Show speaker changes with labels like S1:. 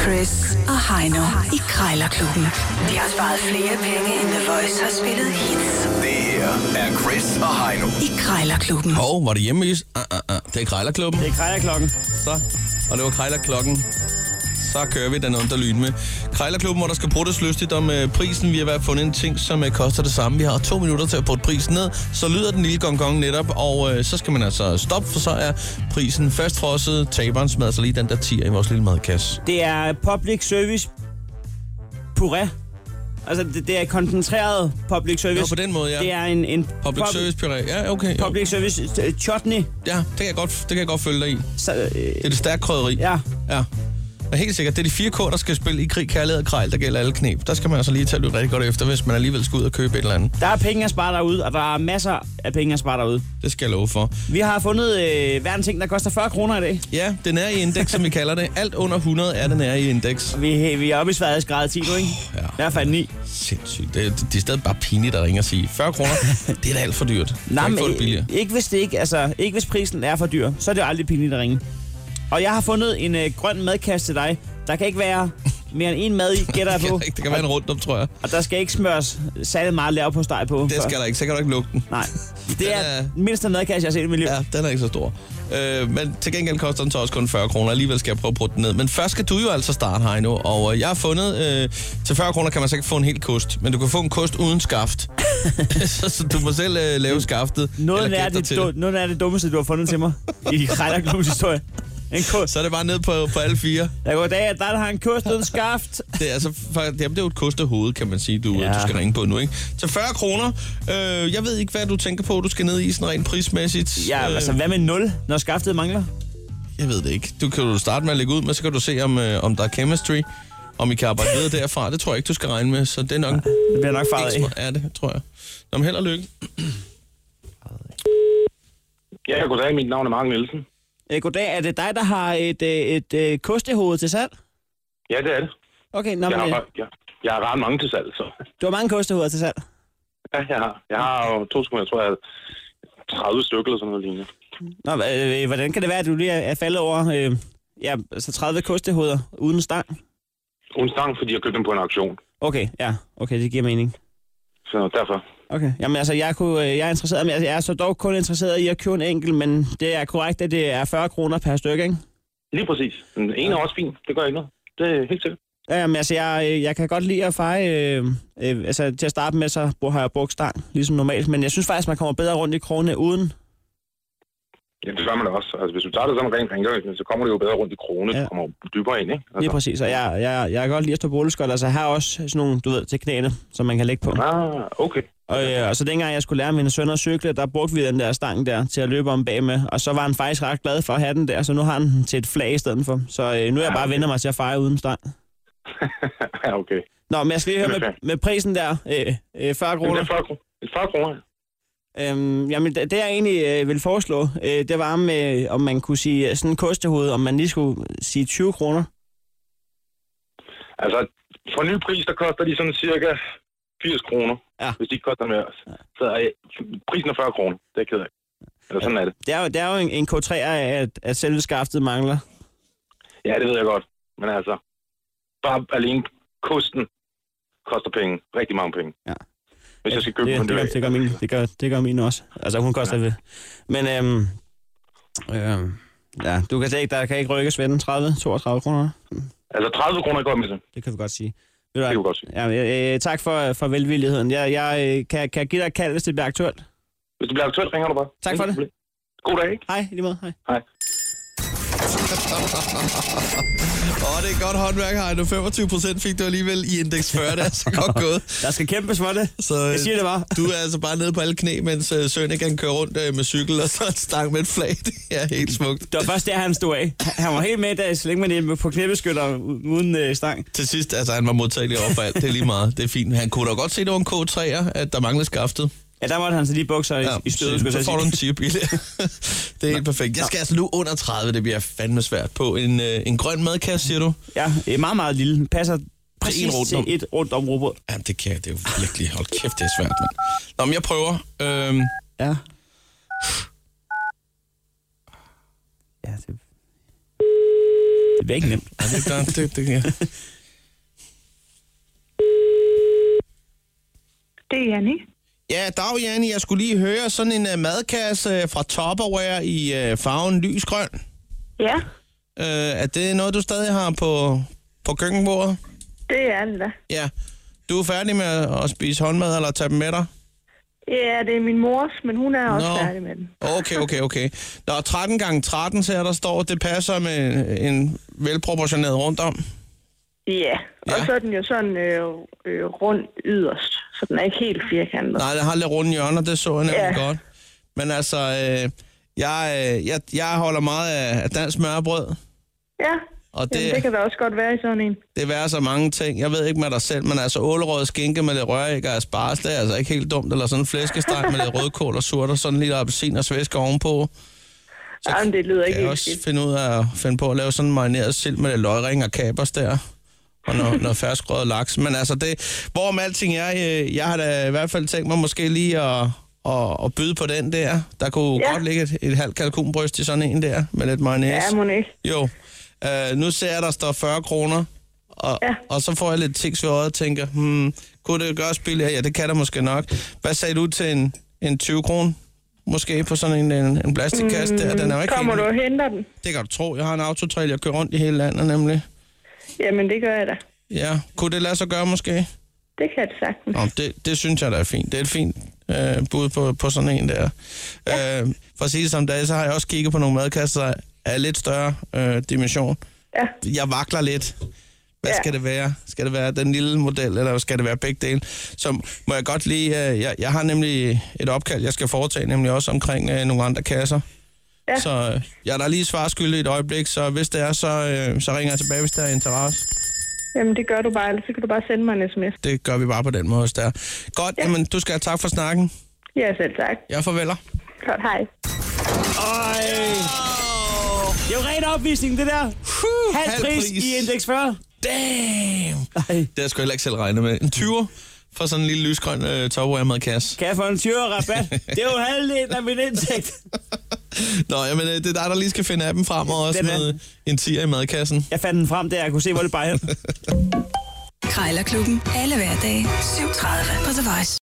S1: Chris og Heino i Krejlerklubben. De har sparet flere penge, end The Voice har spillet hits
S2: Det her er Chris og Heino.
S1: i Krejlerklubben.
S3: Hov, var det hjemme is? Ah, ah, ah. Det er Krejlerklubben.
S4: Det er Krejerklokken.
S3: Så. Og det var Krejlerklokken. Så kører vi den under lyn med. Krejlerklubben, hvor der skal bruges lystigt om øh, prisen. Vi har i hvert fald fundet en ting, som øh, koster det samme. Vi har to minutter til at putte prisen ned. Så lyder den lille gong, gong netop, og øh, så skal man altså stoppe, for så er prisen fastfrosset. Taberen smed altså lige den der tier i vores lille madkasse.
S4: Det er public service puré. Altså, det, det er koncentreret public service.
S3: Nå, på den måde, ja.
S4: Det er en, en
S3: Public service puré. Ja, okay. Jo.
S4: public service øh, chutney.
S3: Ja, det kan, jeg godt, det kan jeg godt følge dig i. Det
S4: Så, øh,
S3: er det stærke krydderi.
S4: ja,
S3: Ja. Men helt sikkert, det er de fire kår, der skal spille i krig, kærlighed og krejl, der gælder alle knep. Der skal man altså lige tage lidt rigtig godt efter, hvis man alligevel skal ud og købe et eller andet.
S4: der er penge at spare derude, og der er masser af penge at spare derude.
S3: Det skal jeg love for.
S4: Vi har fundet øh, verdens ting, der koster 40 kroner i dag.
S3: Ja, det nære i indeks, som vi kalder det. Alt under 100 er det nære i indeks.
S4: Vi, vi er oppe i Sveriges grad 10 nu, ikke?
S3: ja.
S4: I hvert fald 9.
S3: Sindssygt. Det, det, det er stadig bare pinligt at ringe og sige 40 kroner. det er da alt for dyrt. Nej,
S4: men
S3: ikke få det billigere.
S4: ikke hvis det ikke, altså, ikke hvis prisen er for dyr, så er det jo aldrig pinligt at ringe. Og jeg har fundet en øh, grøn madkasse til dig. Der kan ikke være mere end en mad i, gætter jeg
S3: Det
S4: på.
S3: kan, det kan være en rundt om, tror jeg.
S4: Og der skal ikke smøres særlig meget lav på steg på.
S3: Det skal der ikke. Så kan du ikke lugte den.
S4: Nej. Det er
S3: Den er-
S4: den mindste madkasse, jeg har set i mit liv.
S3: Ja, den er ikke så stor. Øh, men til gengæld koster den så også kun 40 kroner. Alligevel skal jeg prøve at putte den ned. Men først skal du jo altså starte, Heino. Og øh, jeg har fundet, øh, til 40 kroner kan man så ikke få en hel kost. Men du kan få en kost uden skaft. så, så du må selv øh, lave skaftet.
S4: Noget
S3: eller
S4: er,
S3: gætte dig
S4: det,
S3: til
S4: du, noget er det dummeste, du har fundet til mig i Krejlerklubbens historie. En kost.
S3: Så er det bare ned på, på alle fire.
S4: Der går i dag, at der, der har en kost uden skaft.
S3: Det er, altså, for, jamen, det er jo et kost af hovedet, kan man sige, du, ja.
S4: Ja.
S3: du skal ringe på nu. Ikke? Til 40 kroner. Øh, jeg ved ikke, hvad du tænker på, du skal ned i sådan rent prismæssigt.
S4: Ja,
S3: Øh,
S4: altså hvad med 0, når skaftet mangler?
S3: Jeg ved det ikke. Du kan jo starte med at lægge ud, men så kan du se, om, øh, om der er chemistry. Om I kan arbejde videre derfra. Det tror jeg ikke, du skal regne med. Så det er nok
S4: Det bliver nok farvet af.
S3: ikke er det, tror jeg. Nå, men held og lykke.
S5: Ja, goddag. Mit navn er Mark Nielsen.
S4: Øh, Goddag, er det dig, der har et, øh, et, et kostehoved til salg?
S5: Ja, det er det.
S4: Okay, nå,
S5: Jeg
S4: men,
S5: har,
S4: øh,
S5: ret- jeg, jeg har ret mange til salg, så.
S4: du har mange kostehoveder til salg.
S5: Ja, jeg har. Jeg har jo to sekunder, jeg tror, jeg har 30 stykker eller sådan noget lignende.
S4: Nå, øh, øh, hvordan kan det være, at du lige er er faldet over øh, ja, så 30 kostehoveder uden stang?
S5: Uden stang, fordi jeg købte dem på en auktion.
S4: Okay, ja, okay, det giver mening.
S5: Så derfor.
S4: Okay, jamen altså, jeg, kunne, øh, jeg er interesseret, men altså, jeg er så dog kun interesseret i at købe en enkelt, men det er korrekt, at det er 40 kroner per stykke, ikke?
S5: Lige præcis. Den ene er også fin. Det gør ikke noget. Det er helt sikkert.
S4: Ja, Jamen altså, jeg, øh, jeg kan godt lide at feje, øh, øh, altså til at starte med, så bru- har jeg brugt stang, ligesom normalt, men jeg synes faktisk, man kommer bedre rundt i krogene uden.
S5: Ja, det gør man da også. Altså, hvis du tager det som rent rengøring, så kommer det jo bedre rundt i krone.
S4: Ja.
S5: Ja. Du kommer dybere ind, ikke?
S4: Lige
S5: Altså.
S4: præcis, og jeg, jeg, jeg kan godt lide at stå på rulleskøjt, altså jeg har også sådan nogle, du ved, til knæene, som man kan lægge på.
S5: Ah, okay.
S4: Og, øh, og så dengang jeg skulle lære mine sønner at cykle, der brugte vi den der stang der til at løbe om bag med. Og så var han faktisk ret glad for at have den der, så nu har han den til et flag i stedet for. Så øh, nu er jeg
S5: Ah,
S4: bare vendt mig til at fejre uden stang.
S5: ja, okay.
S4: Nå, men jeg skal lige høre
S5: Jamen,
S4: med,
S5: fair.
S4: med prisen der, øh, øh, 40
S5: Men det
S4: kroner.
S5: er 40 kroner. Det er 40 kroner.
S4: Øhm, jamen, det, det jeg egentlig øh, ville foreslå, øh, det var, om, øh, om man kunne sige øh, sådan en kostehoved, om man lige skulle sige 20 kroner.
S5: Altså, for ny pris, der koster de sådan cirka 80 kroner.
S4: Ja.
S5: Hvis de ikke koster mere. Så er prisen er 40 kroner. Det er jeg ked af. Eller sådan er det.
S4: Det er jo, det er jo en, en K3'er, at, at selve skaftet mangler.
S5: Ja, det ved jeg godt. Men altså, bare alene kosten koster penge. Rigtig mange penge.
S4: Ja.
S5: Hvis jeg skal købe
S4: det,
S5: den,
S4: det, gør, det, gør min, det, gør, det gør min også. Altså, hun koster ja. ved. Men øhm, øhm, ja, du kan slet ikke, der kan ikke rykkes ved den 30, 32 kroner.
S5: Altså, 30 kroner går med det.
S4: Det kan vi godt sige. Ved du
S5: Det
S4: hvad?
S5: kunne godt sige.
S4: Ja, øh, øh, tak for, for velvilligheden. Jeg, jeg øh, kan, kan jeg give dig et kald, hvis det bliver aktuelt.
S5: Hvis det bliver aktuelt, ringer du bare.
S4: Tak for
S5: Ingen
S4: det.
S5: problem. God dag, ikke?
S4: Hej, i lige måde. Hej.
S5: Hej.
S3: Åh, det er godt håndværk, Heino. 25 procent fik du alligevel i indeks 40. Det er altså godt gået.
S4: Der skal kæmpes for det.
S3: Så, øh,
S4: jeg siger det bare.
S3: Du er altså bare nede på alle knæ, mens øh, Søren ikke kan køre rundt øh, med cykel og så en stang med et flag. Det er helt smukt.
S4: Det var først der, han stod af. Han- Han var helt med, da så længe man er på knæbeskytter u- uden øh, stang.
S3: Til sidst, altså han var modtagelig over for alt. Det er lige meget. Det er fint. Han kunne da godt se, det var en K3'er, at der manglede skaftet.
S4: Ja, der måtte han så lige bukser ja, i, i stødet, skulle
S3: så
S4: jeg
S3: får du
S4: sige.
S3: en tip i det. det er helt perfekt. Jeg skal altså nu under 30, det bliver fandme svært på. En, øh, en grøn madkasse, siger du?
S4: Ja, øh, meget, meget lille. Den Passer præcis
S3: rundt
S4: til
S3: om.
S4: et rundt om robot.
S3: Jamen, det kan jeg. Det er jo virkelig... Hold kæft, det er svært, mand. Nå, men jeg prøver. Øhm,
S4: Ja. Ja, det... Det bliver ikke nemt.
S3: Ja, det, der, det, det, ja.
S6: Det er Janni.
S3: ja, dag Janne, jeg skulle lige høre sådan en uh, madkasse fra Tupperware i uh, farven lysgrøn.
S6: Ja,
S3: Uh, er det noget, du stadig har på, på køkkenbordet?
S6: det er det da.
S3: Ja. Du er færdig med at spise håndmad eller tage dem med dig?
S6: Ja, det er min mors, men hun er også
S3: Nå.
S6: færdig med den.
S3: Okay, okay, okay. Der er 13 gange 13 her, der står, det passer med en velproportioneret rundt om.
S6: Ja, og
S3: Ja.
S6: så er den jo sådan øh, øh, rund yderst, så den er ikke helt firkantet.
S3: Nej, det har lidt runde hjørner, det så jeg nemlig ja.
S6: Ja.
S3: godt. Men altså, øh, jeg, øh, jeg, jeg holder meget af, af dansk smørbrød,
S6: Ja,
S3: og
S6: det...
S3: det,
S6: Jamen, det kan da også godt være i sådan en.
S3: det værer så mange ting. Jeg ved ikke med dig selv, men altså ålerød skinke med lidt røræg og asparges, det er altså ikke helt dumt. Eller sådan en flæskesteg med lidt rødkål og surt og sådan lidt appelsin og svæske ovenpå.
S6: Så... Jamen, det lyder
S3: Kan
S6: ikke
S3: jeg
S6: helt
S3: også
S6: skidt.
S3: finde ud af at finde på at lave sådan en marineret sild med lidt løgring og kapers der. Og noget, noget ferskrød laks. Men altså det, hvorom alting er, øh, jeg har da i hvert fald tænkt mig måske lige at, at, at byde på den der. Der kunne ja.
S6: Ja.
S3: godt ligge et, et halvt kalkunbryst i sådan en der, med lidt mayonnaise.
S6: Ja, må den ikke.
S3: Jo. Øh, nu ser jeg, der står 40 kroner, og, ja.
S6: Ja.
S3: og så får jeg lidt tiks ved øjet og tænker, hmm, kunne det gøres billigere? Ja, det kan der måske nok. Hvad sagde du til en, en 20 kroner? Måske på sådan en, en, en plastikkasse der. Den er jo ikke
S6: Mm, Kommer
S3: helt...
S6: du og henter den?
S3: Det kan du tro. Jeg har en autotrail, jeg kører rundt i hele landet nemlig.
S6: Jamen, det gør jeg da.
S3: Ja, kunne det lade sig gøre måske?
S6: Det kan det sagtens.
S3: Nå, det, det synes jeg, der er fint. Det er et fint øh, bud på, på sådan en der. Ja. Øh, for at sige det som dag, så har jeg også kigget på nogle madkasser af lidt større øh, dimension.
S6: Ja.
S3: Jeg vakler lidt. Hvad ja.
S6: Ja.
S3: skal det være? Skal det være den lille model, eller skal det være begge dele? Så må jeg godt lige... Øh, jeg, jeg har nemlig et opkald, jeg skal foretage, nemlig også omkring øh, nogle andre kasser.
S6: Ja.
S3: Så øh, jeg er der lige svarskyldig et øjeblik, så hvis det er, så, øh, så ringer jeg tilbage, hvis der er interesse.
S6: Jamen, det gør du bare, eller så kan du bare sende mig en sms.
S3: Det gør vi bare på den måde hos der. Godt, ja. jamen, du skal have tak for snakken.
S6: Ja, selv tak.
S3: Jeg farveler.
S6: Godt, hej.
S4: Ej. Det er jo ren opvisning, det der. Halv pris i indeks 40.
S3: Damn!
S4: Ej.
S3: Det har jeg sgu heller ikke selv regnet med. En 20'er for sådan en lille lysgrøn øh, topware-madkasse.
S4: Kan jeg få en 20'er rabat? Det er jo halvdelen af min indtægt.
S3: Nå, jamen, øh, det er dig, der lige skal finde appen frem, og også
S4: Den er-
S3: med en 10'er i madkassen.
S4: Jeg fandt den frem, der jeg kunne se, hvor det bare hen.
S1: Krejlerklubben. Alle hverdage. 7.30 på The Voice.